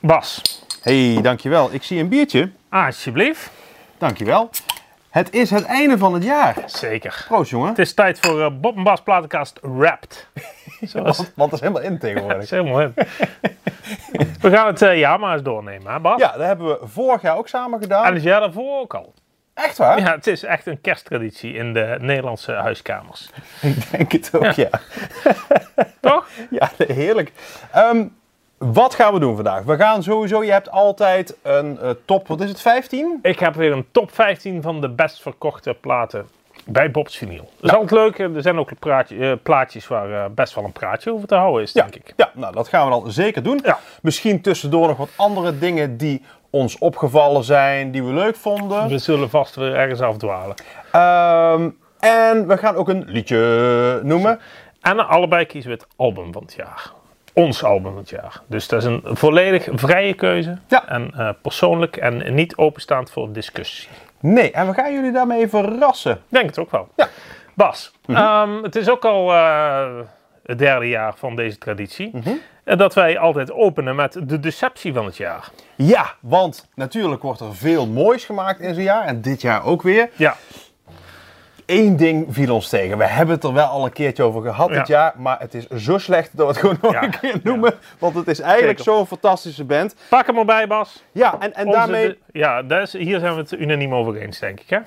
Bas, hey, dankjewel. Ik zie een biertje. alsjeblieft. Dankjewel. Het is het einde van het jaar. Zeker. Proost, jongen. Het is tijd voor eh, Bob en Bas platenkast Wrapped. Zoals Want dat is helemaal in is tegenwoordig. helemaal in. We gaan het eh jaar maar eens doornemen, hè Bas? Ja, dat hebben we vorig jaar ook samen En gedaan. het jaar daarvoor ook al. Echt waar? Ah, Ja, het is echt een kersttraditie in de Nederlandse huiskamers. Ik denk het ook, ja. Toch? Ja, heerlijk. Ehm, wat gaan we doen vandaag? We gaan sowieso, je hebt altijd een eh, top, wat is het, 15? Ik heb weer een top 15 van de best verkochte platen bij Bob's Vinyl. Dat is altijd leuk. eh, Er zijn ook praatje- eh, plaatjes waar eh, best wel een praatje over te houden is, denk ik. Ja, nou dat gaan we dan zeker doen. Ja. Misschien tussendoor nog wat andere dingen die ons opgevallen zijn, die we leuk vonden. We zullen vast weer ergens afdwalen. Ehm, en we gaan ook een liedje noemen. En allebei kiezen we het album van het jaar. Ons album van het jaar. Dus dat is een volledig vrije keuze. Ja. En eh, persoonlijk en niet openstaand voor discussie. Nee, en we gaan jullie daarmee verrassen. Ik Denk het ook wel. Ja. Mhm. Bas, ehm, het is ook al eh, het derde jaar van deze traditie. Mhm. eh, Dat wij altijd openen met de deceptie van het jaar. Ja, want natuurlijk wordt er veel moois gemaakt in zo'n jaar. En dit jaar ook weer. Ja, Eén ding viel ons tegen. We hebben het er wel al een keertje over gehad Ja. dit jaar. Maar het is zo slecht dat we het gewoon nog Ja, een keer noemen. Want het is eigenlijk Zeker. zo'n fantastische band. pak hem erbij, Bas. Ja, en, en Onze daarmee... de- ja, daar is, hier zijn we het unaniem over eens, denk ik. Hè?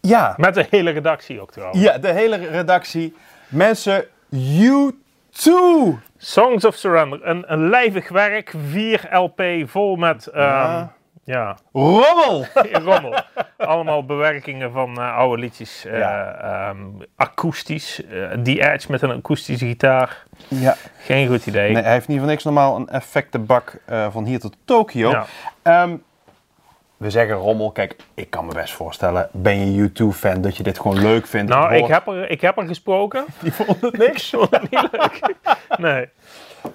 Ja, Met de hele redactie ook trouwens. ja, de hele redactie. Mensen, you too! Songs of Surrender. Een, een lijvig werk. 4 LP vol met ehm, ja. Rommel! rommel. Allemaal bewerkingen van eh, oude liedjes. eh, Ja. ehm, akoestisch. eh, die Edge met een akoestische gitaar. Ja. Geen goed idee. Nee, hij heeft niet van niks normaal een effectenbak eh, van hier tot Tokio. Ja. Ehm, we zeggen rommel. Kijk, ik kan me best voorstellen. Ben je U2-fan dat je dit gewoon leuk vindt? Nou, Het ik hoort- heb, er, ik heb er gesproken. Die vond het niks. Niet leuk. Nee.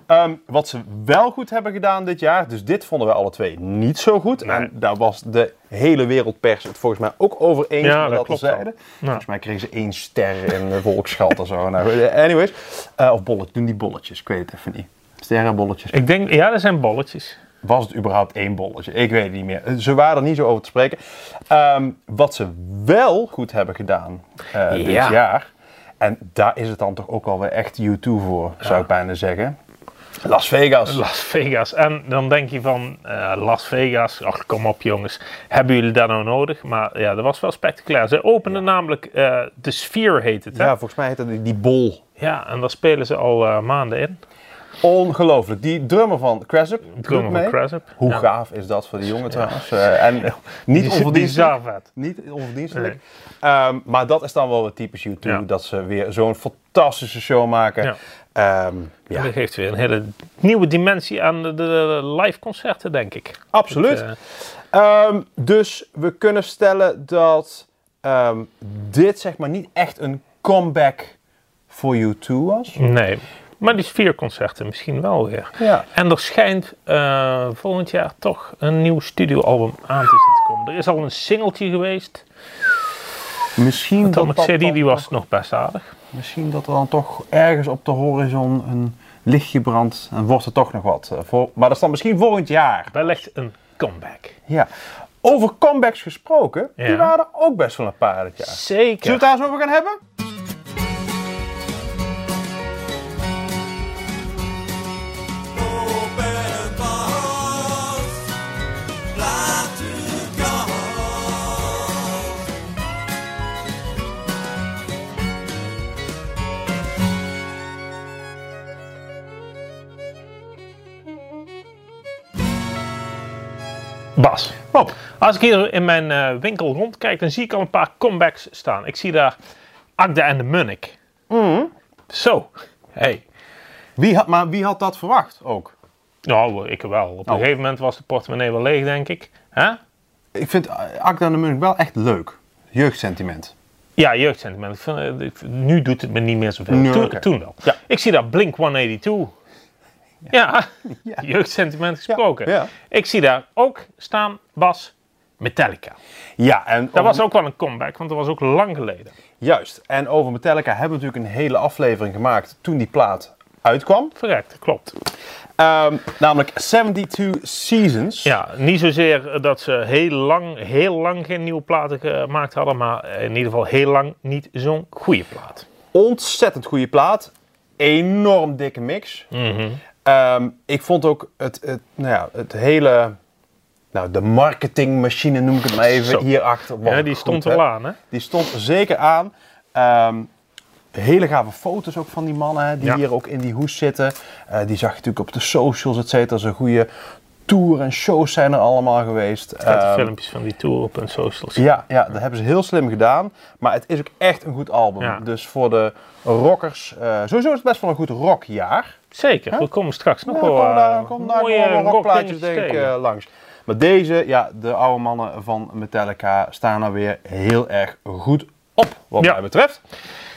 Ehm, wat ze wel goed hebben gedaan dit jaar. Dus dit vonden we alle twee niet zo goed. Nee. En daar was de hele wereldpers het volgens mij ook over eens. Ja, met wat dat we klopt wel. zeiden. Nou, Volgens mij kregen ze één ster in de Volksschat of zo. Nou, goed, anyways. Eh, of bolletjes. Doen die bolletjes? Ik weet het even niet. Sterrenbolletjes. ik denk, ja, er zijn bolletjes. Was het überhaupt één bolletje? Ik weet het niet meer. Ze waren er niet zo over te spreken. Ehm, wat ze wel goed hebben gedaan eh, Ja. dit jaar. En daar is het dan toch ook alweer echt U2 voor, zou ik bijna zeggen. Las Vegas. Las Vegas. En dan denk je van eh, Las Vegas. Ach, kom op jongens. Hebben jullie dat nou nodig? Maar ja, dat was wel spectaculair. Ze openden namelijk eh The Sphere heet het. Hè? ja, Ja. volgens mij heette die, die bol. en daar spelen ze al eh, maanden in. Ongelooflijk. Die drummer van Cressup. doet Drummer mee. van Cressup. Hoe ja. gaaf is dat voor die jongen trouwens? Eh, en eh, niet Die is onverdienstelijk. bizar vet. Niet onverdienstelijk. Ehm, maar dat is dan wel weer typisch U2. Ja. Dat ze weer zo'n fantastische show maken. Ja. Ehm, ja. Dat geeft weer een hele nieuwe dimensie aan de, de live concerten, denk ik. Absoluut. Eh, Ehm, dus we kunnen stellen dat ehm, dit zeg maar niet echt een comeback voor U2 was. nee. Maar die sfeerconcerten misschien wel weer. Ja. En er schijnt eh, volgend jaar toch een nieuw studioalbum aan te zitten komen. Er is al een singeltje geweest. Misschien dat, Atomic dat City, dan- die was nog best aardig. misschien dat er dan toch ergens op de horizon een lichtje brandt en wordt er toch nog wat. eh, voor, maar dat is dan misschien volgend jaar. Wellicht een comeback. Ja. Over comebacks gesproken, Ja. die waren er ook best wel een paar dit jaar. Zullen Zeker. we het daar eens over gaan hebben? Op en pas, laat u gaan. Bas. Bob. Als ik hier in mijn eh, winkel rondkijk, dan zie ik al een paar comebacks staan. Ik zie daar Agda en de Munnik. Mm. Zo. Hey. Wie had, maar wie had dat verwacht ook? Nou, ik wel. Op een Oh. gegeven moment was de portemonnee wel leeg, denk ik. Hè? Ik vind eh, Akda en de Munich wel echt leuk. Jeugdsentiment. Ja, jeugdsentiment. Ik vind, eh, ik vind- nu doet het me niet meer zoveel. Nee, toen, oké. toen wel. Ja. Ik zie daar Blink 182. Ja, jeugdsentiment gesproken. Ja, ja. Ik zie daar ook staan, Bas, Metallica. Ja, en Dat was ook wel een comeback, want dat was ook lang geleden. Juist. En over Metallica hebben we natuurlijk een hele aflevering gemaakt toen die plaat uitkwam. Verrekt, klopt. Ehm, Ehm, namelijk 72 Seasons. Ja, niet zozeer dat ze heel lang, heel lang geen nieuwe platen gemaakt hadden, maar in ieder geval heel lang niet zo'n goede plaat. Ontzettend goede plaat. Enorm dikke mix. Mhm. Ehm, ik vond ook het, het, nou ja, het hele... Nou, de marketingmachine noem ik het maar even Zo. hierachter. Wat Ja, die goed, stond hè. wel aan, hè? Die stond zeker aan. Ehm, hele gave foto's ook van die mannen hè, die Ja. hier ook in die hoes zitten. Eh, die zag je natuurlijk op de socials, et cetera. Zo'n goede tour en shows zijn er allemaal geweest. Uit Ehm, de filmpjes van die tour op hun socials. ja, ja, dat hebben ze heel slim gedaan. Maar het is ook echt een goed album. Ja. Dus voor de rockers, eh, sowieso is het best wel een goed rockjaar. Zeker, we komen straks nog Ja, wel kom daar, eh, kom daar mooie gewoon wel rockplaatjes rockdingetjes denk ik tegen. eh, langs. Maar deze, ja, de oude mannen van Metallica staan er weer heel erg goed op, wat Ja. mij betreft.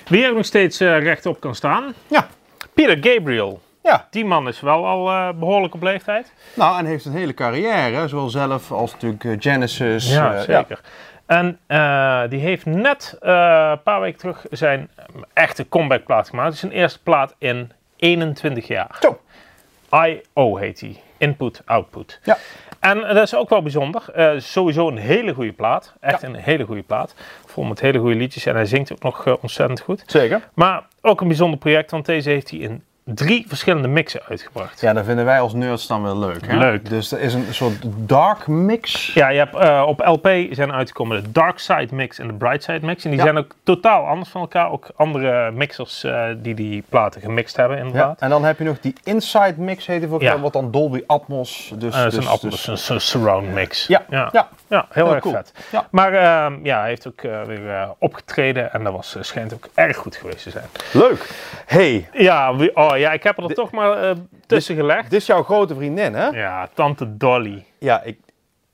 Wie er nog steeds eh, rechtop kan staan, Ja, Peter Gabriel. ja. Die man is wel al eh, behoorlijk op leeftijd. Nou, en heeft een hele carrière, zowel zelf als natuurlijk eh, Genesis. Ja, eh, zeker. En eh, die heeft net eh, een paar weken terug zijn echte comebackplaat gemaakt. Het is zijn eerste plaat in 21 jaar. Zo. I.O. heet die. Input, output. Ja. En dat is ook wel bijzonder. Eh, sowieso een hele goede plaat. Echt een hele goede plaat. Vol met hele goede liedjes. En hij zingt ook nog eh, ontzettend goed. Zeker. Maar ook een bijzonder project, want deze heeft hij in drie verschillende mixen uitgebracht. Ja, dat vinden wij als nerds dan wel leuk. Hè? Leuk. Dus er is een soort dark mix. Ja, je hebt, eh, op LP zijn uitgekomen de Dark Side Mix en de Bright Side Mix. En die Ja. zijn ook totaal anders van elkaar. Ook andere mixers eh, die die platen gemixt hebben, Ja, inderdaad. en dan heb je nog die inside mix, heet die voor Ja. wat dan Dolby Atmos. Dus, Eh, het is dus, een appel, dus- dus een soort surround mix. Ja, ja. ja. Ja, heel, Heel erg cool. vet. Ja. Maar eh, ja, hij heeft ook eh, weer eh, opgetreden en dat was, eh, schijnt ook erg goed geweest te zijn. Leuk. hey, Ja, wie- oh, ja ik heb er toch maar eh, tussen gelegd. dit is jouw grote vriendin, hè? Ja, tante Dolly. Ja, ik...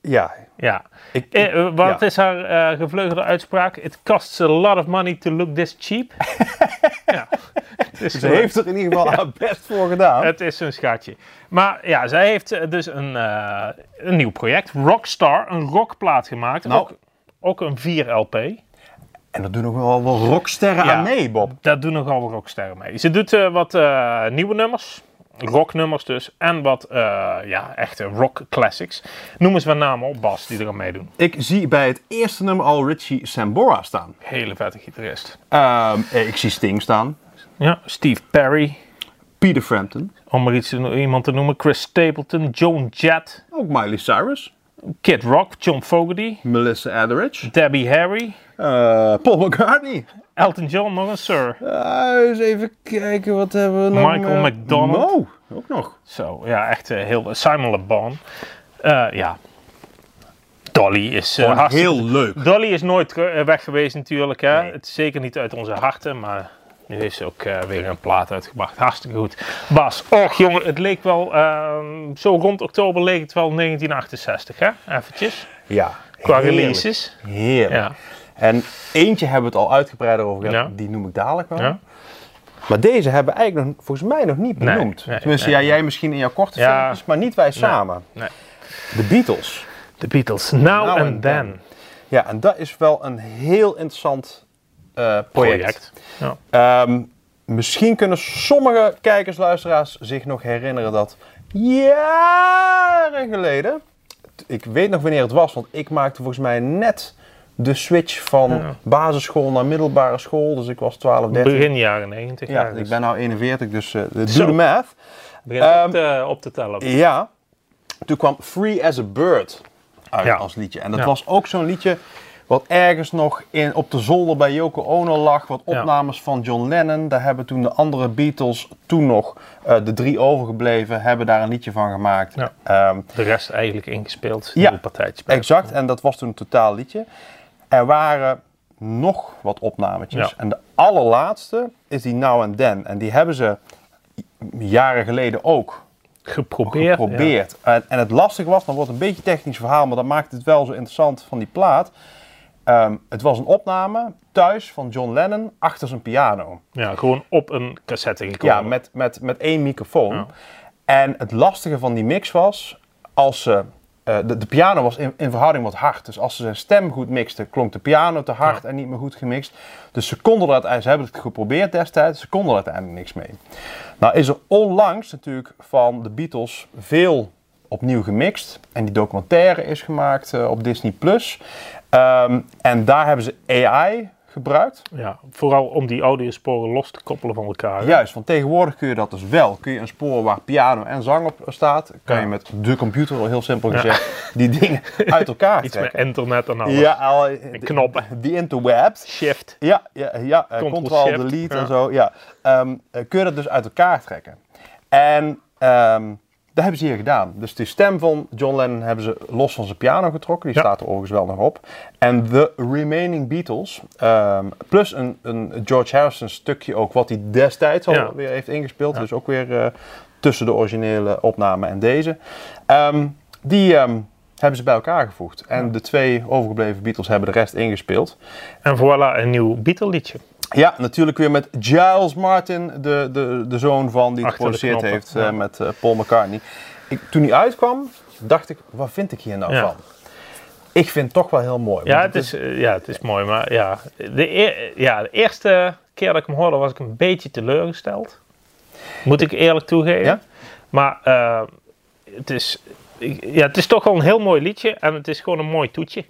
Ja. Ja. Ik, Eh, eh, wat ja. is haar eh, gevleugelde uitspraak? It costs a lot of money to look this cheap. ja. Het is Ze heeft er in ieder geval haar best voor gedaan. Het is een schatje. Maar ja, zij heeft eh, dus een, eh, een nieuw project, Rockstar, een rockplaat gemaakt. Nou. Ook, ook een 4LP. En dat doen nog wel, wel rocksterren Ja. aan mee, Bob. Daar doen nogal wat rocksterren mee. Ze doet eh, wat eh, nieuwe nummers, rocknummers dus, en wat eh, ja, echte rock classics. Noem eens wat namen op, Bas, die er aan meedoen. Ik zie bij het eerste nummer al Richie Sambora staan. Hele vette gitarist. Ehm, eh, ik zie Sting staan. Ja, Steve Perry, Peter Frampton. om maar iets te no- iemand te noemen, Chris Stapleton, Joan Jett, Ook Miley Cyrus. Kid Rock, John Fogerty, Melissa Etheridge. Debbie Harry, eh, Paul McCartney. Elton John, nog een Sir. Eh, eens even kijken, wat hebben we nog Michael meer? McDonald. eh, Mo, ook nog. Zo, ja, echt eh, heel... Simon Le Bon. Eh, ja. Dolly is eh, hartstikke Heel leuk. Dolly is nooit teru- eh, weg geweest natuurlijk. Hè? Het is zeker niet uit onze harten, maar nu heeft ze ook eh, weer een plaat uitgebracht. Hartstikke goed. Bas, och jongen, het leek wel, ehm, zo rond oktober leek het wel 1968, hè? Eventjes, Ja. qua heerlijk. releases. Heerlijk. Ja. En eentje hebben we het al uitgebreider over gehad. Ja. Die noem ik dadelijk wel. Ja. Maar deze hebben we eigenlijk nog, volgens mij nog niet Nee, benoemd. nee, Tenminste, nee. ja, jij misschien in jouw korte Ja. filmpjes, maar niet wij samen. nee. De Beatles. De Beatles, Now, and, and Then. Then. Ja, en dat is wel een heel interessant eh, project. Project. Ja. Ehm, misschien kunnen sommige kijkers, luisteraars zich nog herinneren dat jaren geleden, t- ik weet nog wanneer het was, want ik maakte volgens mij net de switch van Ja. basisschool naar middelbare school, dus ik was 12, 13. Begin jaren 90. Ja, dus ik ben nou 41, dus eh, Zo. doe de math. begint ehm, op, te, op te tellen. Ja, toen kwam Free as a Bird uit Ja. als liedje. En dat Ja. was ook zo'n liedje wat ergens nog in, op de zolder bij Yoko Ono lag. Wat Ja. opnames van John Lennon. Daar hebben toen de andere Beatles, toen nog eh, de drie overgebleven, hebben daar een liedje van gemaakt. Ja. Ehm, De rest eigenlijk ingespeeld, Ja, nieuwe partijtjes. bij. exact, en dat was toen een totaal liedje. Er waren nog wat opnametjes. Ja. En de allerlaatste is die Now and Then. En die hebben ze jaren geleden ook Geprobeerd. ja. geprobeerd. En, en het lastige was, dan wordt het een beetje een technisch verhaal, maar dat maakt het wel zo interessant van die plaat. Ehm, het was een opname thuis van John Lennon achter zijn piano. Ja, gewoon op een cassette gekomen. Ja, met, met, met één microfoon. En het lastige van die mix was, als ze eh, eh, de, de piano was in, in verhouding wat hard. Dus als ze zijn stem goed mixten, klonk de piano te hard en niet meer goed gemixt. Dus ze konden er uiteindelijk, ze hebben het geprobeerd destijds, ze konden er uiteindelijk niks mee. Nou is er onlangs natuurlijk van de Beatles veel opnieuw gemixt. En die documentaire is gemaakt eh, op Disney+. Plus. Ehm, en daar hebben ze AI gebruikt. Ja, vooral om die audiosporen los te koppelen van elkaar. hè? Juist, want tegenwoordig kun je dat dus wel. Kun je een spoor waar piano en zang op staat, kan Ja. je met de computer, al heel simpel gezegd, die dingen uit elkaar Iets met trekken. internet en alles. Ja, al, de- knoppen. Die interwebs. Shift. Ja, ja, ja eh, Control control, shift, delete ja. en zo. Ja. Ehm, eh, kun je dat dus uit elkaar trekken. En ehm, dat hebben ze hier gedaan. Dus die stem van John Lennon hebben ze los van zijn piano getrokken. Die Ja. staat er overigens wel nog op. En The Remaining Beatles, ehm, plus een, een George Harrison stukje ook, wat hij destijds al Ja. weer heeft ingespeeld. Dus ook weer eh, tussen de originele opname en deze. Ehm, die ehm, hebben ze bij elkaar gevoegd. En de twee overgebleven Beatles hebben de rest ingespeeld. En voilà, een nieuw Beatle liedje. Ja, natuurlijk weer met Giles Martin, de, de, de zoon van die het Achter de geproduceerd knoppen, heeft ja. eh, met eh, Paul McCartney. Ik, toen hij uitkwam, dacht ik, wat vind ik hier nou Ja. van? Ik vind het toch wel heel mooi. Ja, want het is, eh, ja, het is mooi, maar ja. De, eer- ja, de eerste keer dat ik hem hoorde was ik een beetje teleurgesteld. Moet ik eerlijk toegeven. Ja? Maar eh, het, is, ik- ja, het is toch wel een heel mooi liedje en het is gewoon een mooi toetje.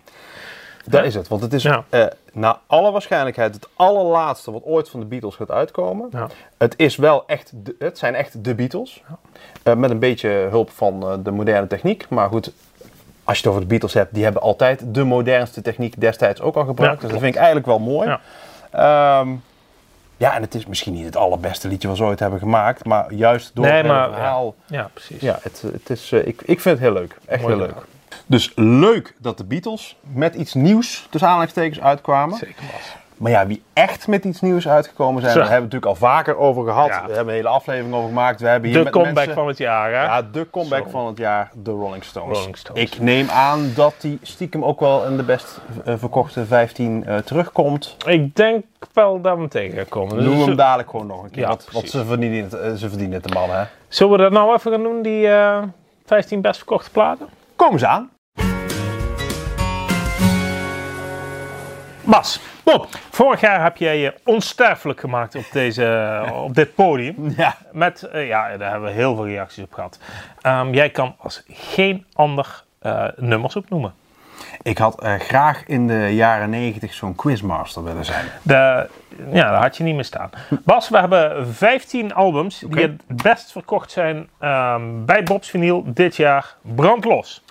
Daar is het, want het is Ja. eh, naar alle waarschijnlijkheid het allerlaatste wat ooit van de Beatles gaat uitkomen. Ja. Het, is wel echt de- het zijn echt de Beatles, Eh, met een beetje hulp van eh, de moderne techniek. Maar goed, als je het over de Beatles hebt, die hebben altijd de modernste techniek destijds ook al gebruikt. Ja, dus dat vind ik eigenlijk wel mooi. Ja. Ja. ja, en het is misschien niet het allerbeste liedje wat ze ooit hebben gemaakt, maar juist door Nee, het hele maar- verhaal... Ja, precies. Ja, het, het is, eh, ik, ik vind het heel leuk. Echt Mooi heel leuk. gedaan. Dus leuk dat de Beatles met iets nieuws, tussen aanhalingstekens, uitkwamen. Zeker was. Maar ja, wie echt met iets nieuws uitgekomen zijn, Zo. daar hebben we het natuurlijk al vaker over gehad. Ja. We hebben een hele aflevering over gemaakt. We hebben hier De met comeback mensen- van het jaar, hè? Ja, de comeback Zo. van het jaar, de Rolling Stones. Rolling Stones. Ik neem aan dat die stiekem ook wel in de best eh, verkochte 15 eh, terugkomt. Ik denk wel dat we hem tegen gaan komen. Dus Noem zo- hem dadelijk gewoon nog een keer. Ja, want want precies. ze, verdienen het, eh, ze verdienen het de man, hè. Zullen we dat nou even gaan doen, die eh 15 best verkochte platen? Kom eens aan. Bas, Bob, vorig jaar heb jij je onsterfelijk gemaakt op, deze, op dit podium. Ja. Met, eh, ja, daar hebben we heel veel reacties op gehad. Ehm, jij kan als geen ander eh, nummers opnoemen. Ik had eh, graag in de jaren 90 zo'n quizmaster willen zijn. De, ja, daar had je niet meer staan. Bas, we hebben 15 albums die Oké. het best verkocht zijn ehm, bij Bob's Vinyl dit jaar. Brandlos.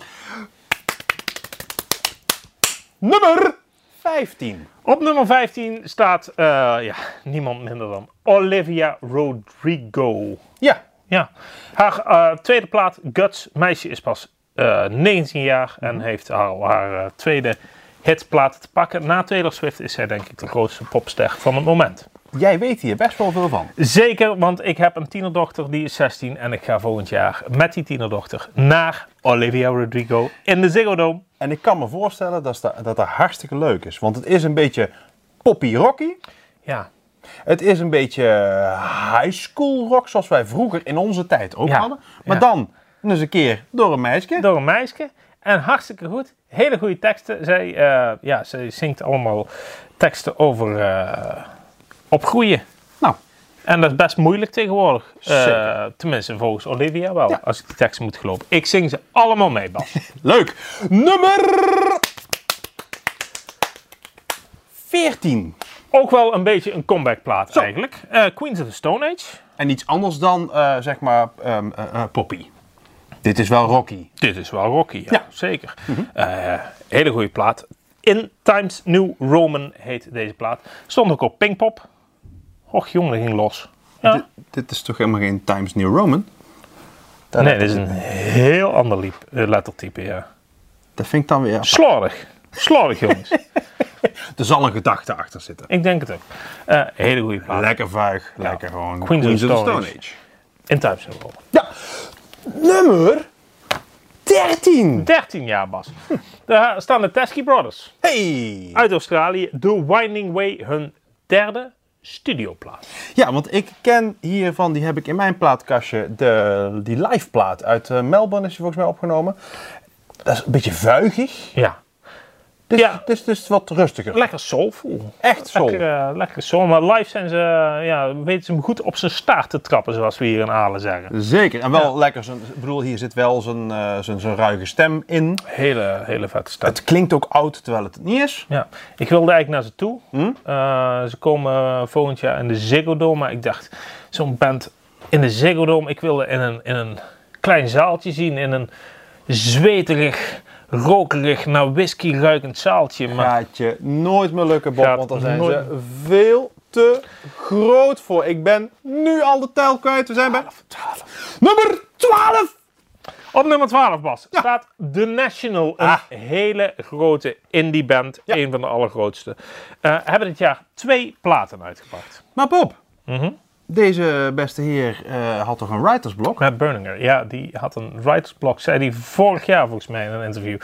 Nummer 15. Op nummer 15 staat eh, ja, niemand minder dan Olivia Rodrigo. Ja, Ja. Haar eh, tweede plaat, Guts, meisje is pas eh, 19 jaar en heeft al haar eh, tweede hitplaat te pakken. Na Taylor Swift is zij denk ik de grootste popster van het moment. jij weet hier best wel veel van. Zeker, want ik heb een tienerdochter die is 16 en ik ga volgend jaar met die tienerdochter naar Olivia Rodrigo in de Ziggo Dome. En ik kan me voorstellen dat dat, dat, dat hartstikke leuk is. Want het is een beetje poppy rocky. Ja, Het is een beetje high school rock zoals wij vroeger in onze tijd ook Ja, hadden. Maar ja. dan eens een keer door een meisje. door een meisje. En hartstikke goed. Hele goede teksten. Zij, eh, ja, zij zingt allemaal teksten over eh, opgroeien. Nou, En dat is best moeilijk tegenwoordig. Eh, Zeker. tenminste, volgens Olivia wel, Ja. als ik die tekst moet geloven. Ik zing ze allemaal mee, Bas. leuk. Nummer 14. Ook wel een beetje een comebackplaat eigenlijk. Eh, Queens of the Stone Age. En iets anders dan, eh, zeg maar, ehm, eh, eh, poppy. Dit is wel rocky. Dit is wel Rocky, ja, Ja. Mhm. zeker. Eh, hele goede plaat. In Times New Roman heet deze plaat. Stond ook op Pinkpop. Och jongen, dat ging los. Ja. Dit is toch helemaal geen Times New Roman? Nee, dit is een heel ander liep, eh, lettertype, ja. Dat vind ik dan weer... Slordig. Slordig, jongens. Er zal een gedachte achter zitten. Ik denk het ook. Eh, hele goede plaat. Lekker vuig, lekker gewoon. Queens of the Stone Age. In Times New Roman. Ja, nummer 13. 13 jaar, Bas. Daar staan de Teskey Brothers Hey. uit Australië. The Winding Way, hun derde studioplaat. Ja, want ik ken hiervan, die heb ik in mijn plaatkastje, de, die live plaat uit eh, Melbourne is die volgens mij opgenomen. dat is een beetje vuigig. Ja. Dus, Ja. dus, dus wat rustiger. Lekker soulful. Echt zo. Lekker, eh, lekker soul. Maar live zijn ze, eh, ja, weten ze hem goed op zijn staart te trappen, zoals we hier in Halen zeggen. Zeker. En wel lekker. zo'n- Ik bedoel, hier zit wel zo'n eh, zo'n zo'n ruige stem in. Hele, hele vette staart. Het klinkt ook oud terwijl het het niet is. Ja, ik wilde eigenlijk naar ze toe. Hm? Eh, ze komen eh, volgend jaar in de Ziggo Dome. Maar ik dacht, zo'n band in de Ziggo Dome. Ik wilde in een, in een klein zaaltje zien. In een zweterig, rokerig, naar whisky ruikend zaaltje. Maar Gaat je nooit meer lukken, Bob. Gaat Want daar zijn nooit ze veel te groot voor. Ik ben nu al de tel kwijt. We zijn bij nummer 12. op nummer 12, Bas, staat The National. Een Ah. hele grote indie band. Ja. Een van de allergrootste. Eh, hebben dit jaar twee platen uitgebracht. Maar Bob, Mhm. deze beste heer eh, had toch een writersblok? Matt Berninger, ja, die had een writersblok, zei hij vorig jaar volgens mij in een interview.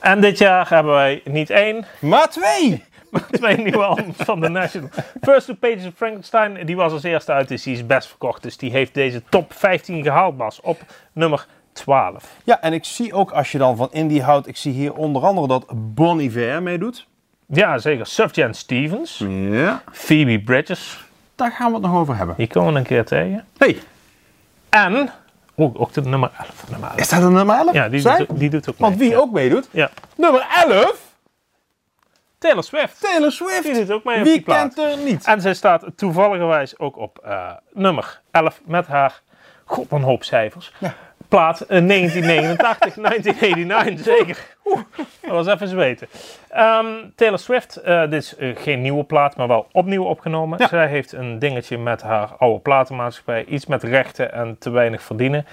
En dit jaar hebben wij niet één, Maar twee. maar twee nieuwe albums van The National. First Two Pages of Frankenstein, die was als eerste uit, dus die is best verkocht. Dus die heeft deze top 15 gehaald, Bas, op nummer 12. Ja, en ik zie ook als je dan van indie houdt. Ik zie hier onder andere dat Bon Iver meedoet. Ja, zeker. Sufjan Stevens, Ja. Phoebe Bridges, Daar gaan we het nog over hebben. die komen we een keer tegen. Hey, En, oeh, ook de nummer 11. Nummer 11. is dat een nummer 11? Ja, die, Zij? doet, ook- die doet ook Want mee. wie ja. ook meedoet? Ja. Nummer 11? Taylor Swift, Taylor die Swift. doet ook mee op Wie die plaat. Eh. kent er niet? En zij staat toevalligerwijs ook op eh, nummer 11 met haar, god, een hoop cijfers. Plaat eh, 1989, 1989 zeker. Oeh, dat was even zweten. Ehm Taylor Swift, eh, dit is eh, geen nieuwe plaat, maar wel opnieuw opgenomen. Zij heeft een dingetje met haar oude platenmaatschappij, iets met rechten en te weinig verdienen.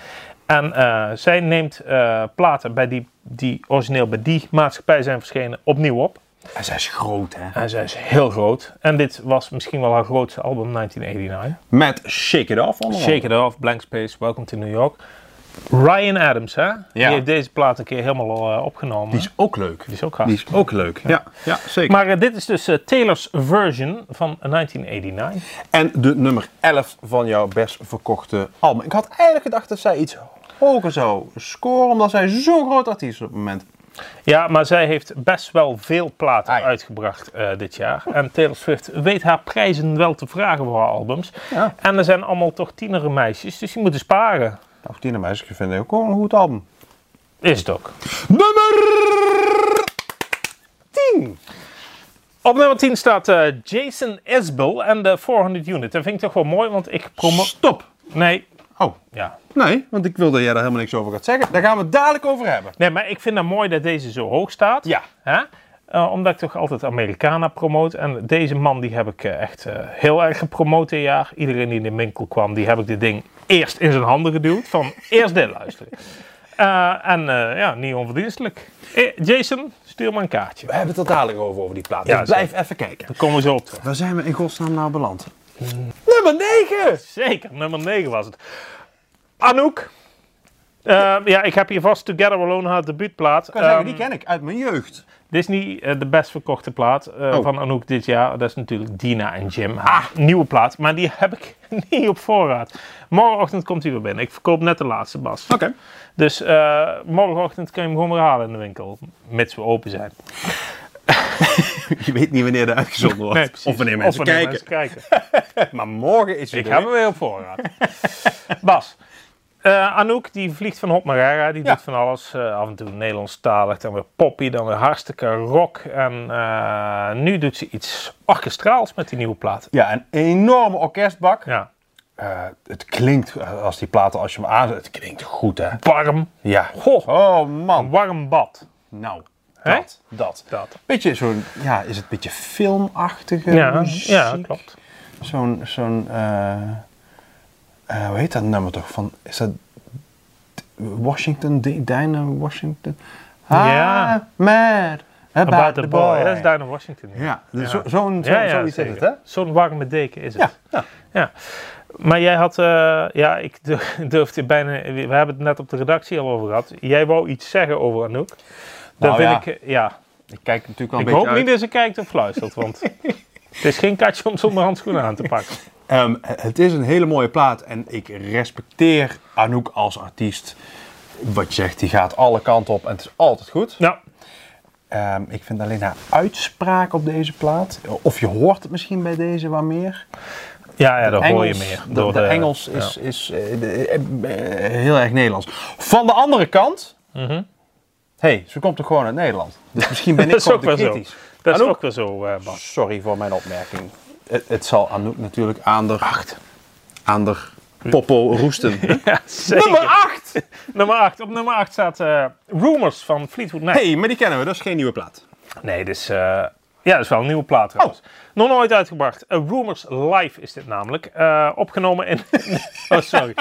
En eh, zij neemt eh, platen bij die, die origineel bij die maatschappij zijn verschenen opnieuw op. En zij is groot, hè? En zij is heel groot. En dit was misschien wel haar grootste album 1989. Met Shake It Off onder andere. Shake It Off, Blank Space, Welcome to New York. Ryan Adams, hè? Die heeft deze plaat een keer helemaal eh, opgenomen. Die is ook leuk. Die is ook hard. Die is ook leuk. Ja, ja, zeker. Maar eh, dit is dus eh, Taylor's version van 1989. en de nummer 11 van jouw best verkochte album. Ik had eigenlijk gedacht dat zij iets hoger zou scoren, omdat zij zo'n groot artiest is op het moment. Ja, maar zij heeft best wel veel platen Ah, ja. uitgebracht eh, dit jaar. En Taylor Swift weet haar prijzen wel te vragen voor haar albums. Ja. En er zijn allemaal toch tienere meisjes, dus die moeten sparen. Nou, Tina Meisje vind ik ook wel een goed album. Is het ook. Nummer 10. Op nummer 10 staat eh, Jason Isbell en de 400 Unit. Dat vind ik toch wel mooi, want ik promo... Stop. Nee, Oh, ja. nee, want ik wil dat jij daar helemaal niks over gaat zeggen. Daar gaan we het dadelijk over hebben. Nee, maar ik vind het mooi dat deze zo hoog staat. Ja. Hè? Eh, omdat ik toch altijd Americana promoot. En deze man die heb ik eh, echt eh, heel erg gepromoot dit jaar. Iedereen die in de winkel kwam, die heb ik dit ding eerst in zijn handen geduwd. Van eerst dit luisteren. Eh, en eh, ja, niet onverdienstelijk. Eh, Jason, stuur me een kaartje. We hebben het er dadelijk over, over die plaat. Ja, dus blijf even kijken. Daar komen we zo op terug. Waar zijn we in godsnaam nou beland? Nummer 9! Zeker, nummer 9 was het. Anouk. Eh, ja, ik heb hier vast Together Alone haar debuutplaat. kan zeggen, Ehm, die ken ik uit mijn jeugd. Dit is niet eh, de best verkochte plaat eh, Oh. van Anouk dit jaar. Dat is natuurlijk Dina en Jim. Haar nieuwe plaat, maar die heb ik niet op voorraad. Morgenochtend komt hij weer binnen. Ik verkoop net de laatste, Bas. Oké. Dus eh, morgenochtend kun je hem gewoon weer halen in de winkel. Mits we open zijn. Je weet niet wanneer er uitgezonden wordt. Nee, precies. of wanneer mensen kijken. mensen kijken. Maar morgen is het Ik heb hem weer op voorraad. Bas. eh, Anouk die vliegt van hop naar Rara, die Ja. doet van alles. eh, af en toe Nederlandstalig, dan weer poppy, dan weer hartstikke rock. En eh, nu doet ze iets orkestraals met die nieuwe plaat. Ja, een enorme orkestbak. Ja, Eh, het klinkt, eh, als die platen, als je hem aanzet, het klinkt goed, hè? warm. Ja. Goh, Oh, man. warm bad. Nou, Hè? dat, dat. Dat. Beetje zo'n, ja, is het een beetje filmachtige Ja, muziek? ja, klopt. Zo'n, zo'n, eh, eh, hoe heet dat nummer toch? Van, is dat Washington, D- Dinah Washington? Ja. I'm mad about, About the boy. Dat is Diana Washington. Ja, dus zo- zo'n, zo, Ja, ja, zoiets is zeker. het, hè? Zo'n warme deken is het. Ja, ja. Ja, maar jij had, eh, ja, ik durf- durfde bijna, we hebben het net op de redactie al over gehad. Jij wou iets zeggen over Anouk. Dat Nou vind ja. ik, eh, ja. Ik kijk natuurlijk al Ik een hoop beetje uit. niet dat ze kijkt of fluistert, want het is geen katje om zonder handschoenen aan te pakken. Ehm, het is een hele mooie plaat en ik respecteer Anouk als artiest. wat je zegt, die gaat alle kanten op en het is altijd goed. Ja, Ehm, ik vind alleen haar uitspraak op deze plaat, of je hoort het misschien bij deze wat meer. ja, ja daar hoor je Engels, meer. de- door eh, de, Engels is, is eh, de- eh, eh, heel erg Nederlands. Van de andere kant, Mhm. hey, ze komt toch gewoon uit Nederland. Dus misschien ben ik Dat is gewoon ook te wel zo. kritisch. Dat is Anouk? ook wel zo, eh Bas. Sorry voor mijn opmerking. Het, het zal Anouk natuurlijk aan de... Acht. Aan de poppo roesten. Ja, zeker. Nummer 8! Nummer 8. Op nummer 8 staat eh, Rumors van Fleetwood Mac. Hey, maar die kennen we, dat is geen nieuwe plaat. Nee, dus, eh, ja, dat is wel een nieuwe plaat trouwens. Oh. Nog nooit uitgebracht. Eh, Rumors Live is dit namelijk. Eh, opgenomen in oh, sorry,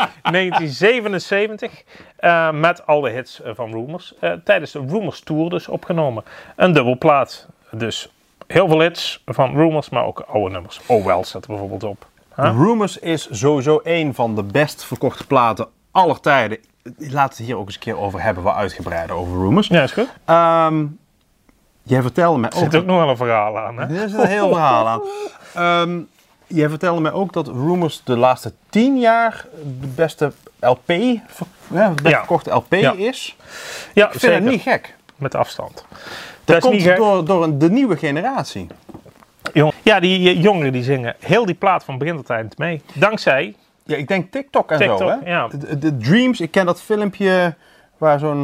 1977 eh, met al de hits eh, van Rumors. Eh, tijdens de Rumors Tour dus opgenomen. Een dubbelplaat. Dus heel veel hits van Rumors, maar ook oude nummers. Oh Well staat er bijvoorbeeld op. Huh? Rumors is sowieso een van de best verkochte platen aller tijden. Laten we het hier ook eens een keer over hebben, wat uitgebreider over Rumors. Ja, is goed. Ehm, jij vertelde mij Er ook... zit ook nog wel een verhaal aan. Hè? Er is een heel verhaal aan. Ehm, jij vertelde mij ook dat Rumors de laatste tien jaar de beste LP, ver- ja, de best Ja. verkochte LP Ja. is. Ja, Ik vind zeker. het niet gek. Met afstand. Dat, is komt niet gek. door, door een, de nieuwe generatie. Jong- Ja, die eh, jongeren die zingen heel die plaat van begin tot eind mee. Dankzij Ja, ik denk TikTok en zo, TikTok, hè? ja. De, de Dreams, ik ken dat filmpje waar zo'n...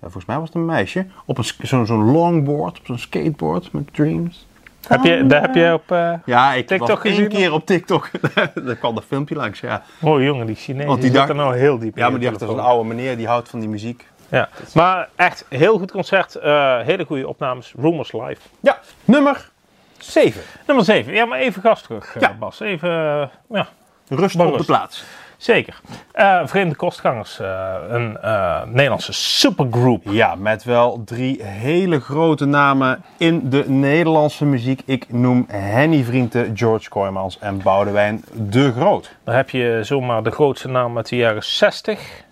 Ja, volgens mij was het een meisje. Op een sk- zo'n zo'n longboard, op zo'n skateboard met Dreams. Heb je, daar heb je op. eh Ja, ik TikTok was één gezien? keer op TikTok. Daar kwam dat filmpje langs, ja. Oh jongen, die Chinezen Want die zitten dag- nou heel diep. Ja, in maar hun die achter zo'n telefoon. oude meneer, die houdt van die muziek. Ja. Maar echt heel goed concert, eh, hele goede opnames. Rumors live. Ja, nummer 7. Nummer 7. Ja, maar even gas terug, eh, Ja. Bas. Even, eh, ja, Rust Maar op de rust. plaats. zeker. Eh, Vreemde Kostgangers, eh, een eh, Nederlandse supergroep. Ja, met wel drie hele grote namen in de Nederlandse muziek. Ik noem Henny Vrienden, George Kooijmans en Boudewijn de Groot. Dan heb je zomaar de grootste naam uit de jaren 60.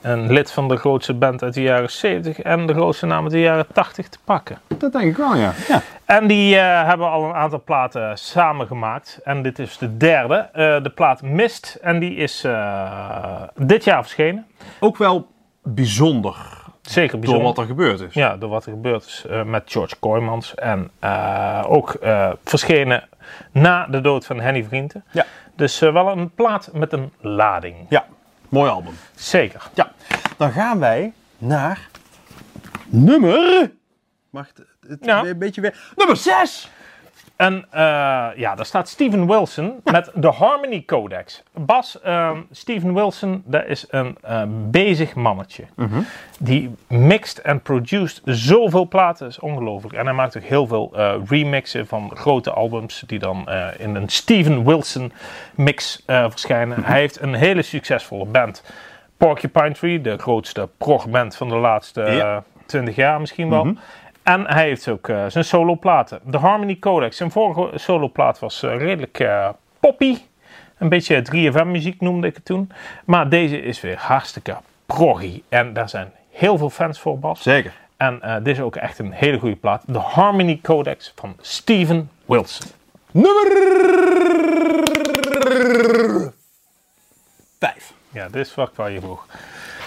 Een lid van de grootste band uit de jaren 70 en de grootste naam uit de jaren 80 te pakken. Dat denk ik wel, ja. ja. En die eh, hebben al een aantal platen samengemaakt. En dit is de derde. Eh, de plaat Mist. En die is eh, dit jaar verschenen. Ook wel bijzonder, Zeker door bijzonder. wat er gebeurd is. Ja, door wat er gebeurd is eh, met George Kooijmans. En eh, ook eh, verschenen na de dood van Henny Vrienden. Ja. Dus eh, wel een plaat met een lading. Ja, mooi album. Zeker. Ja, dan gaan wij naar nummer... Mag het, het Ja. weer een beetje weer... Nummer 6! En eh, ja, daar staat Steven Wilson met de Harmony Codex. Bas, ehm, Steven Wilson, dat is een eh, bezig mannetje. Die mixt en produced zoveel platen, dat is ongelooflijk. En hij maakt ook heel veel eh, remixen van grote albums die dan eh, in een Steven Wilson mix eh, verschijnen. Hij heeft een hele succesvolle band. Porcupine Tree, de grootste progband van de laatste eh, Ja. Mhm. twintig jaar misschien wel. En hij heeft ook eh, zijn soloplaten. De Harmony Codex. Zijn vorige soloplaat was eh, redelijk eh, poppy. Een beetje 3FM muziek noemde ik het toen. Maar deze is weer hartstikke proggy. En daar zijn heel veel fans voor, Bas. Zeker. En eh, dit is ook echt een hele goede plaat. De Harmony Codex van Steven Wilson. Nummer 5. Ja, dit is wat waar je vroeg.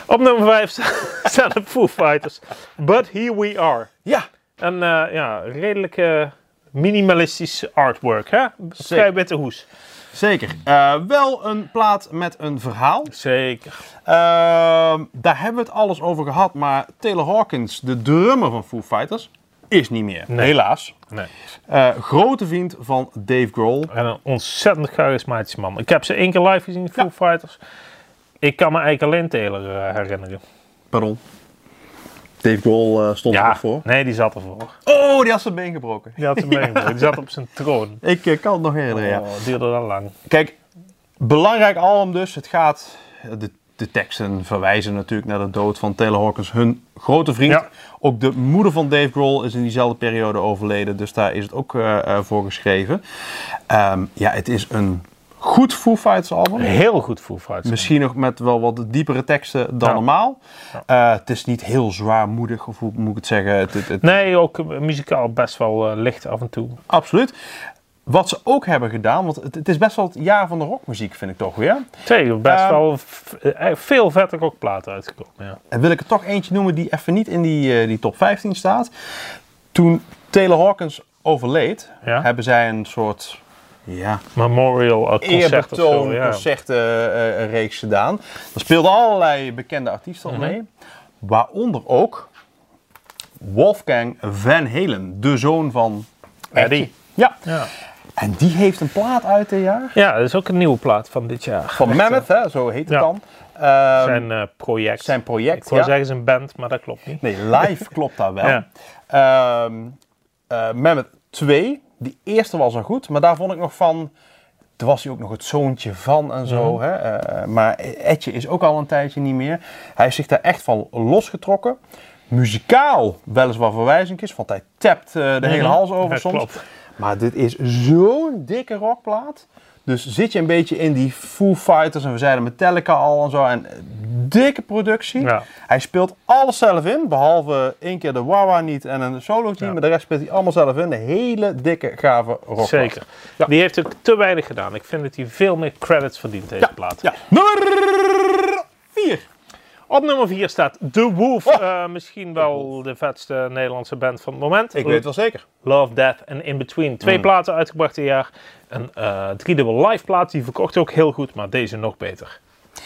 Op nummer 5 staan de Foo Fighters. But here we are. Ja, En eh, ja, redelijk eh, minimalistisch artwork, hè? Vrij Zeker. witte hoes. zeker. Eh, wel een plaat met een verhaal. Zeker. Ehm, daar hebben we het alles over gehad, maar Taylor Hawkins, de drummer van Foo Fighters, is niet meer. Nee. Helaas. Nee. Eh, grote vriend van Dave Grohl. En een ontzettend charismatisch man. Ik heb ze één keer live gezien, Foo Fighters. Ik kan me eigenlijk alleen Taylor eh, herinneren. Pardon. Dave Grohl eh, stond er voor. nee, die zat ervoor. Oh, die had zijn been gebroken. Die had hem meegemaakt. Die zat op zijn troon. Ik eh, kan het nog herinneren, ja. Oh, het duurde dan lang. Kijk, belangrijk album dus. Het gaat, de, de teksten verwijzen natuurlijk naar de dood van Taylor Hawkins, hun grote vriend. Ja. Ook de moeder van Dave Grohl is in diezelfde periode overleden, dus daar is het ook eh, eh, voor geschreven. Ehm, ja, het is een goed Foo Fighters album. Heel goed Foo Fighters. Misschien nog met wel wat diepere teksten dan Ja. normaal. Eh, het is niet heel zwaarmoedig, of hoe moet ik het zeggen? Het, het, het- Nee, ook eh, muzikaal best wel eh, licht af en toe. Absoluut. Wat ze ook hebben gedaan, want het, het is best wel het jaar van de rockmuziek, vind ik toch weer. Twee, best Ehm, wel v- eh, veel vette rockplaten uitgekomen. Ja. En wil ik er toch eentje noemen die even niet in die, eh, die top 15 staat. Toen Taylor Hawkins overleed, Ja. hebben zij een soort ja, Memorial eh, concert of eerbetoon zo. concerten Ja. eh, eh, reeks gedaan. Daar speelden allerlei bekende artiesten al Mhm. mee. Waaronder ook Wolfgang Van Halen, de zoon van Eddie. Ja, Ja. en die heeft een plaat uit dit jaar. ja, dat is ook een nieuwe plaat van dit jaar. Van Mammoth, hè, zo heet het Ja. dan. Ehm, zijn eh, project. zijn project, Ik wil ja. zeggen zijn band, maar dat klopt niet. Nee, live klopt daar wel. Ja. Ehm eh, Mammoth 2, die eerste was al goed, maar daar vond ik nog van. Toen was hij ook nog het zoontje van en zo. Mhm. Hè? Eh, maar Etje is ook al een tijdje niet meer. Hij heeft zich daar echt van losgetrokken. Muzikaal weliswaar verwijzingjes, want hij tapt eh, de hele hals over Mhm. Ja, soms. klopt. Maar dit is zo'n dikke rockplaat. Dus zit je een beetje in die Foo Fighters en we zeiden Metallica al en zo. En eh, dikke productie. Ja. Hij speelt alles zelf in, behalve één keer de Wawa niet en een solo team. Ja. Maar de rest speelt hij allemaal zelf in. De hele dikke, gave rockplaat. Zeker. Ja. Die heeft ook te weinig gedaan. Ik vind dat hij veel meer credits verdient, deze plaat. Ja. Nummer 4. Op nummer 4 staat The Wolf. Oh. eh, misschien wel de vetste Nederlandse band van het moment. Ik weet het wel Mm. zeker. Love, Death en In Between. Twee platen uitgebracht dit jaar. Een eh driedubbel live plaat. Die verkocht ook heel goed, maar deze nog beter.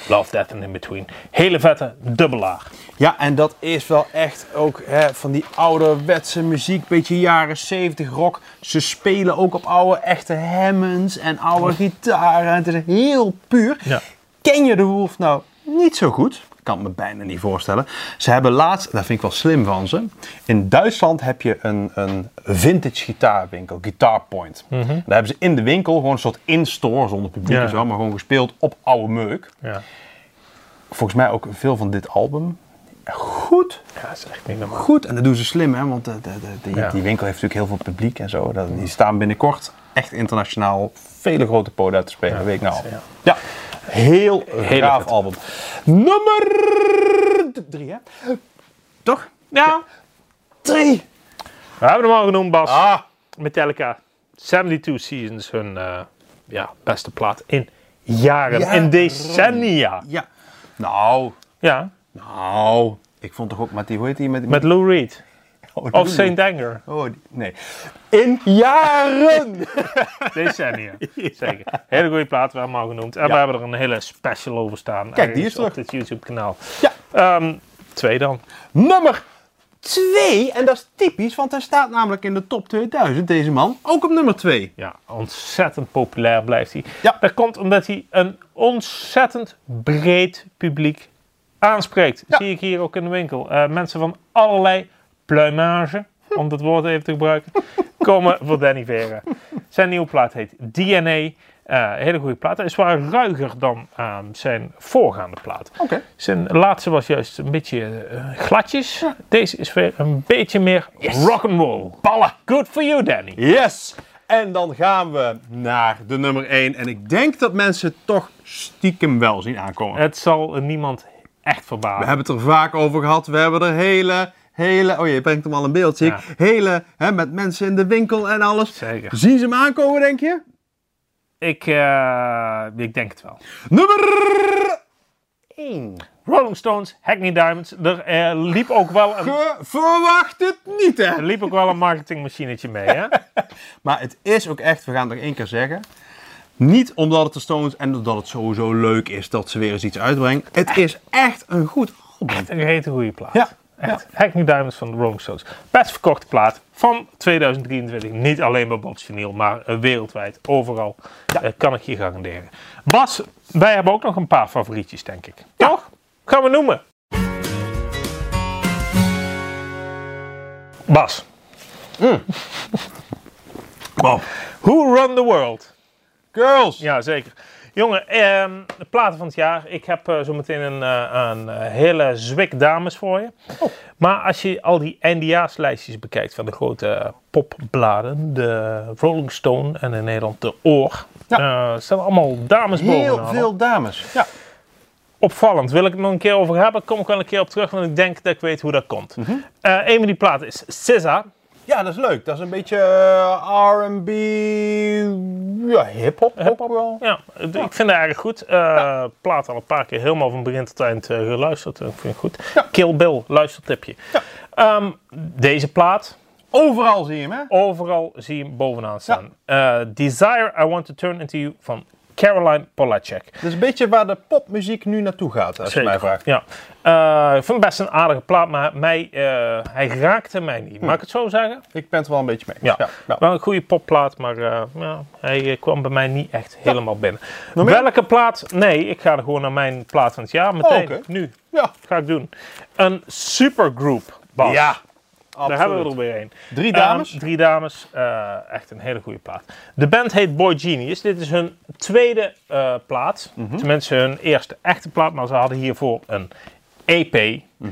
Love, Death en In Between. Hele vette dubbelaar. Ja, en dat is wel echt ook hè, van die ouderwetse muziek, beetje jaren 70 rock. Ze spelen ook op oude echte Hammonds en oude gitaren. Het is heel puur. Ja. Ken je de Wolf nou niet zo goed? Ik kan het me bijna niet voorstellen. Ze hebben laatst, daar vind ik wel slim van ze. In Duitsland heb je een, een vintage gitaarwinkel, Guitar Point. Daar hebben ze in de winkel gewoon een soort in-store zonder publiek Mhm. Ja. en zo, maar gewoon gespeeld op oude meuk. Ja, Volgens mij ook veel van dit album. Goed ja dat is echt niet normaal. goed. En dat doen ze slim, hè? want eh, de, de, de- Ja. die winkel heeft natuurlijk heel veel publiek en zo. Dat, die staan binnenkort echt internationaal op vele grote podia te spelen, weet ik nou. al. ja. Ja, heel Hele gaaf vet. album. Nummer d- drie, hè? Toch? Ja, Drie! we hebben hem al genoemd, Bas. Ah, Metallica, 72 Seasons, hun eh, ja, beste plaat in jaren, Ja. in decennia. ja. Nou, Ja, nou. Ik vond toch ook met die, hoe heet die? Met, met Lou Reed oh, die- of St. Anger. Oh, die- nee. In jaren! Decennia, zeker. Hele goede plaat, we hebben hem al genoemd. En we hebben er een hele special over staan. Kijk, die is ergens terug. Op dit YouTube-kanaal. ja. Ehm, twee dan. Nummer 2. En dat is typisch, want hij staat namelijk in de top 2000, deze man. Ook op nummer 2. Ja, ontzettend populair blijft hij. Ja. Dat komt omdat hij een ontzettend breed publiek aanspreekt. Ja. Zie ik hier ook in de winkel. Eh, mensen van allerlei pluimage, Hm. om dat woord even te gebruiken, komen voor Danny Vera. Zijn nieuwe plaat heet DNA. Eh, hele goede plaat. Hij is waar ruiger dan eh, zijn voorgaande plaat. Oké. Zijn laatste was juist een beetje eh, gladjes. Deze is weer een beetje meer rock'n'roll. Ballen. Good for you, Danny. Yes. En dan gaan we naar de nummer 1. En ik denk dat mensen het toch stiekem wel zien aankomen. Het zal niemand echt We verbazen. hebben het er vaak over gehad. We hebben er hele, hele... Oh, je brengt hem al in beeld, zie ik. Ja. Hele, hè, met mensen in de winkel en alles. Zeker. Zien ze hem aankomen, denk je? Ik, eh, ik denk het wel. Nummer 1. Rolling Stones, Hackney Diamonds. Er eh, liep, ook wel een, Je verwacht het niet, hè? er liep ook wel een marketingmachientje mee, hè? Maar het is ook echt, we gaan het nog één keer zeggen. Niet omdat het de Stones en omdat het sowieso leuk is dat ze weer eens iets uitbrengen. Het is echt een goed album. Een hele goede plaat. Ja, Echt. Hackney Diamonds van de Rolling Stones. Best verkochte plaat van 2023. Niet alleen bij Bob Vinyl, maar eh, wereldwijd. Overal. Eh, kan ik je garanderen. Bas, wij hebben ook nog een paar favorietjes, denk ik. Toch? Gaan we noemen. Bas, Wow. Who Run the World? Girls. Ja, zeker. Jongen, ehm, de platen van het jaar. Ik heb eh, zo zometeen een, eh, een eh, hele zwik dames voor je. Maar als je al die NDA's-lijstjes bekijkt van de grote eh, popbladen, de Rolling Stone en in Nederland de Oor, eh, staan allemaal dames Heel bovenaan. veel dames. Ja. Opvallend. Wil ik het nog een keer Mhm. over hebben? Kom ik wel een keer op terug, want ik denk dat ik weet hoe dat komt. Eh, een van die platen is SZA. Ja, dat is leuk. Dat is een beetje eh, R&B, ja, hip-hop ook wel. Ja, het- ik vind het eigenlijk goed. Eh, Plaat al een paar keer helemaal van begin tot eind eh, geluisterd. Ik vind het goed. Kill Bill, luistertipje. Ehm, deze plaat, Overal zie je hem, hè? overal zie je hem bovenaan staan. Eh, Desire I Want To Turn Into You van Caroline Polacek. Dat is een beetje waar de popmuziek nu naartoe gaat, als je mij vraagt. Ja. Eh, ik vind het best een aardige plaat, maar mij, eh, hij raakte mij niet. Mag ik het zo zeggen? Ik ben het wel een beetje mee. Ja. ja, nou. Wel een goede popplaat, maar eh, ja, hij eh, kwam bij mij niet echt helemaal binnen. meer? Welke plaat? Nee, ik ga er gewoon naar mijn plaat van het jaar meteen. Oh, oké. Nu. ja. Ga ik doen. Een supergroep, Bas. Ja, Daar hebben we er weer een. Drie dames. Ehm, drie dames. Eh, echt een hele goede plaat. De band heet Boy Genius. Dit is hun tweede eh, plaat. Mhm. Tenminste, hun eerste echte plaat. Maar ze hadden hiervoor een EP. Mhm.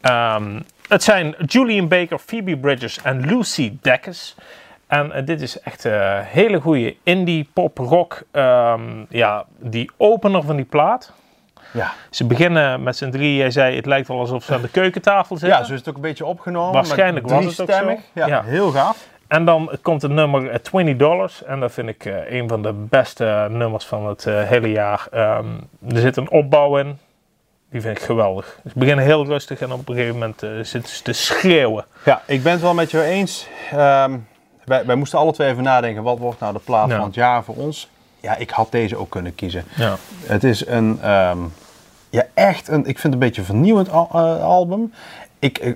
Ehm, het zijn Julian Baker, Phoebe Bridges en Lucy Dekkers. En eh, dit is echt een hele goede indie pop rock. ehm, ja, die opener van die plaat. ja. Ze beginnen met z'n drieën. Jij zei, het lijkt wel alsof ze aan de keukentafel zitten. ja, zo is het ook een beetje opgenomen. Waarschijnlijk maar was het ook zo. driestemmig. Ja, Ja. heel gaaf. En dan komt het nummer eh, 20 dollars. En dat vind ik eh, een van de beste nummers van het eh, hele jaar. Ehm, er zit een opbouw in. Die vind ik geweldig. Ze beginnen heel rustig en op een gegeven moment eh, zitten ze te schreeuwen. Ja, ik ben het wel met jou eens. Ehm, wij, wij moesten alle twee even nadenken, wat wordt nou de plaat Ja. van het jaar voor ons? Ja, ik had deze ook kunnen kiezen. Ja. Het is een, ehm, ja echt een, ik vind het een beetje een vernieuwend al- eh, album. Ik, eh,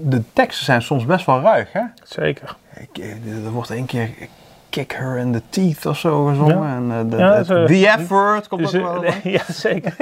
de teksten zijn soms best wel ruig, hè? Zeker. Ik, eh, er wordt één keer Kick Her in the Teeth of zo gezongen. Ja. En, eh, de, Ja, het- dat dus, eh, is, the Effort komt ook Ze- wel. langs. ja, zeker.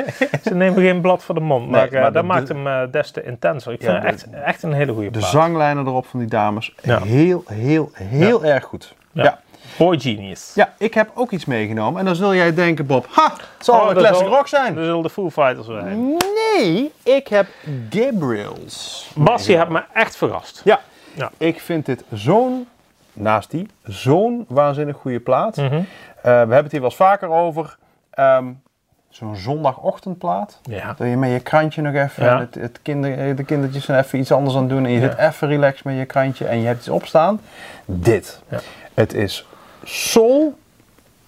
ze nemen geen blad voor de mond. Maar, eh, maar dat de- maakt hem eh, des te intenser. Ik Ja, vind het de- echt, echt een hele goede De plaat. zanglijnen erop van die dames, Ja. heel, heel, heel erg goed. Ja. ja. Boy Genius. Ja, ik heb ook iets meegenomen. En dan zul jij denken, Bob, ha, het zal Oh, wel een dat classic zal- rock zijn. Dat zullen de Foo Fighters zijn. Nee, ik heb Gabriels. Bas, je hebt me echt verrast. Ja, Ja. ik vind dit zo'n, naast die, zo'n waanzinnig goede plaat. Mhm. Eh, we hebben het hier wel eens vaker over. Ehm, zo'n zondagochtendplaat. Ja. Dat je met je krantje nog even, Ja. het, het kinder, de kindertjes zijn even iets anders aan het doen. En je zit even relaxed met je krantje en je hebt iets opstaan. Dit. Ja. Het is soul.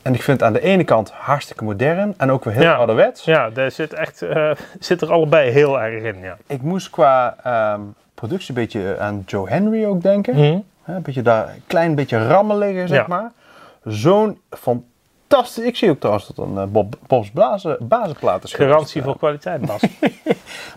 En ik vind het aan de ene kant hartstikke modern en ook weer heel Ja. ouderwets. Ja, daar zit, echt, eh, zit er allebei heel erg in. Ja. Ik moest qua ehm, productie een beetje eh, aan Joe Henry ook denken. Hè, Een beetje daar, een klein beetje rammeliger, zeg Mhm. Ja. maar. Zo'n fantastisch... Ik zie ook trouwens dat een eh, Bob, Bob's blazen, bazenplaat is geweest. Garantie voor kwaliteit, Bas.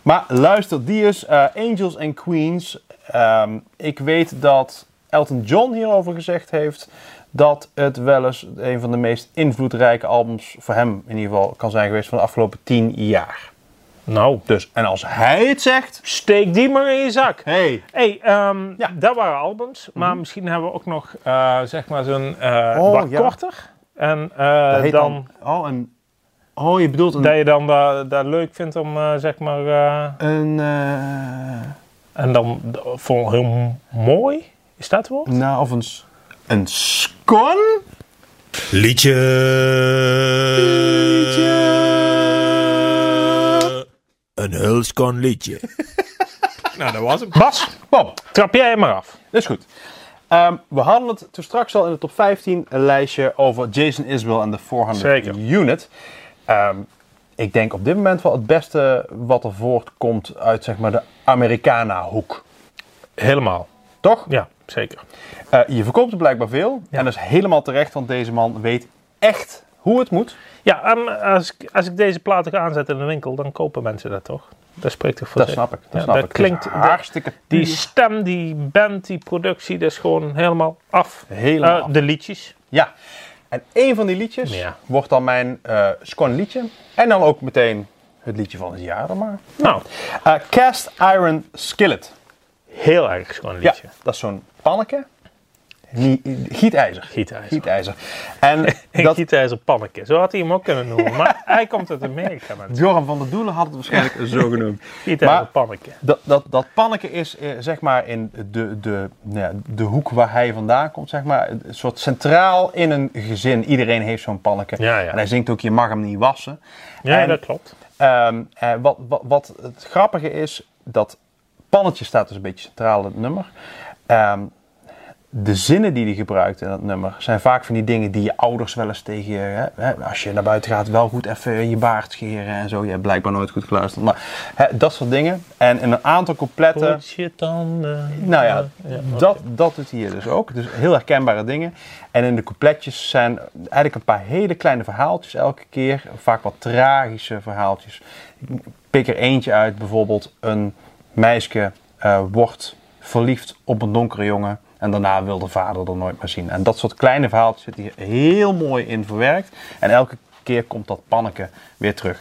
Maar luister, die is eh, Angels and Queens. Ehm, ik weet dat Elton John hierover gezegd heeft dat het wel eens een van de meest invloedrijke albums voor hem in ieder geval kan zijn geweest van de afgelopen tien jaar. nou, Dus, en als hij het zegt, steek die maar in je zak. hey, hey, ehm, Ja. Mhm. dat waren albums, maar misschien hebben we ook nog eh, zeg maar zo'n eh Oh, wat ja. korter. En eh, heet dan, oh, een, oh, je bedoelt een, dat je dan dat dat leuk vindt om eh, zeg maar. eh, een eh, en dan d- voor heel mooi, is dat het woord? nou, of een, s- een scon? Liedje. Een hulskon liedje. Nou, dat was het. Bas, Bom, trap jij hem maar af. Dat is goed. Ehm, we hadden het toen straks al in de top 15 een lijstje over Jason Isbell en de 400 Zeker. Unit. Ehm, ik denk op dit moment wel het beste wat er voortkomt uit zeg maar, de Americana-hoek. Helemaal. Toch? Ja, zeker. Eh, je verkoopt er blijkbaar veel. Ja. En dat is helemaal terecht, want deze man weet echt hoe het moet. Ja, ehm, als, ik, als ik deze platen ga aanzetten in de winkel, dan kopen mensen dat toch? Dat spreekt toch voor Dat zich? snap ik. Dat, Ja, snap dat ik. klinkt, Het is dat- hartstikke die puur. stem, die band, die productie, dat is gewoon helemaal af. Helemaal Eh, af. De liedjes. Ja. En één van die liedjes Ja. wordt dan mijn eh scone liedje. En dan ook meteen het liedje van het jaar dan maar. Nou, Eh, cast Iron Skillet. heel erg schoon Ja, liedje. dat is zo'n panneke. Nie- Gietijzer. Gietijzer. Gietijzer. En Ik dat, Gietijzer Panneke. Zo had hij hem ook kunnen noemen. Maar hij komt uit Amerika, mensen. Joram van der Doelen had het waarschijnlijk zo genoemd. Gietijzer Maar- Panneke. Dat, dat, dat panneke is eh, zeg maar in de, de, nou ja, de hoek waar hij vandaan komt, zeg maar. Een soort centraal in een gezin. Iedereen heeft zo'n panneke. Ja, ja. En hij zingt ook, je mag hem niet wassen. Ja, En- dat klopt. Ehm, eh, wat, wat, wat het grappige is, dat pannetje staat dus een beetje centraal in het nummer. Ehm, de zinnen die hij gebruikt in dat nummer zijn vaak van die dingen die je ouders wel eens tegen je. Hè, hè, als je naar buiten gaat, wel goed even je baard scheren en zo. Je hebt blijkbaar nooit goed geluisterd. Maar hè, dat soort dingen. En in een aantal complete. Poets je tanden. eh, Nou ja, oké. dat, dat doet hier dus ook. Dus heel herkenbare dingen. En in de coupletjes zijn eigenlijk een paar hele kleine verhaaltjes elke keer. Vaak wat tragische verhaaltjes. Ik pik er eentje uit, bijvoorbeeld een meisje eh, wordt verliefd op een donkere jongen. En daarna wil de vader er nooit meer zien. En dat soort kleine verhaaltjes zit hier heel mooi in verwerkt. En elke keer komt dat panneke weer terug.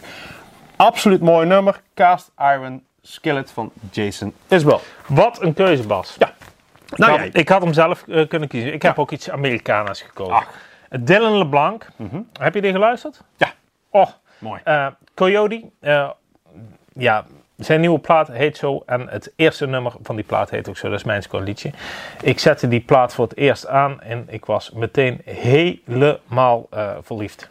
Absoluut mooi nummer. Cast Iron Skillet van Jason Isbell. Wat een keuze, Bas. Ja. Nou, ik, had, ik had hem zelf eh, kunnen kiezen. Ik heb ook iets Americana's gekozen. Dylan LeBlanc. Mhm. Heb je die geluisterd? Ja. Oh, Mooi. eh, Coyote. eh, ja, zijn nieuwe plaat heet zo. En het eerste nummer van die plaat heet ook zo. Dat is mijn scoreliedje. Ik zette die plaat voor het eerst aan. En ik was meteen helemaal eh, verliefd.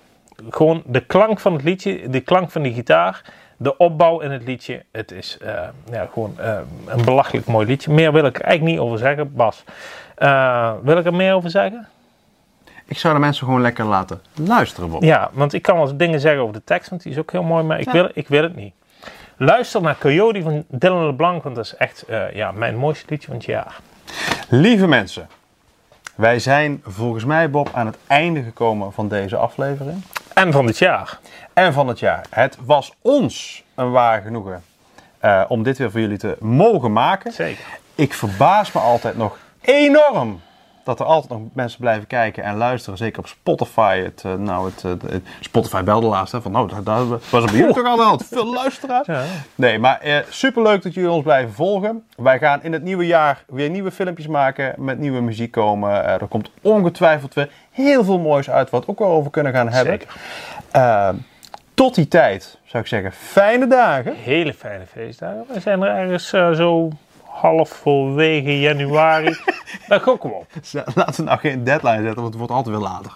Gewoon de klank van het liedje. De klank van die gitaar. De opbouw in het liedje. Het is eh, ja, gewoon eh, een belachelijk mooi liedje. Meer wil ik er eigenlijk niet over zeggen. Bas, eh, wil ik er meer over zeggen? Ik zou de mensen gewoon lekker laten luisteren, Bob. Ja, want ik kan wel dingen zeggen over de tekst, want die is ook heel mooi, maar ik, Ja. wil, ik wil het niet. Luister naar Coyote van Dylan LeBlanc, want dat is echt eh, ja, mijn mooiste liedje van het jaar. Lieve mensen, wij zijn volgens mij, Bob, aan het einde gekomen van deze aflevering. En van dit jaar. En van het jaar. Het was ons een waar genoegen eh, om dit weer voor jullie te mogen maken. Zeker. Ik verbaas me altijd nog enorm dat er altijd nog mensen blijven kijken en luisteren. Zeker op Spotify. Het, eh, nou, het, eh, het- Spotify belde laatst hè, van nou, daar, daar was er bij jullie toch al hand. Veel luisteraars. Ja. Nee, maar eh, superleuk dat jullie ons blijven volgen. Wij gaan in het nieuwe jaar weer nieuwe filmpjes maken, met nieuwe muziek komen. Eh, er komt ongetwijfeld weer heel veel moois uit, wat we ook wel over kunnen gaan hebben. Zeker. Eh, tot die tijd zou ik zeggen, fijne dagen. Hele fijne feestdagen. We zijn er ergens eh, zo halverwege januari. Daar gokken we op. Laten we nou geen deadline zetten, want het wordt altijd weer later.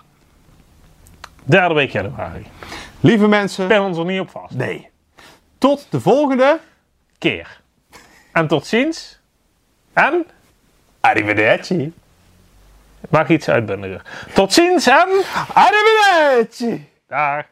Derde week januari. Ik Lieve mensen, ben ons er niet op vast. nee. Tot de volgende. Keer. En tot ziens. En? Arrivederci. Maak iets uitbundiger. Tot ziens en... Arrivederci! Dag.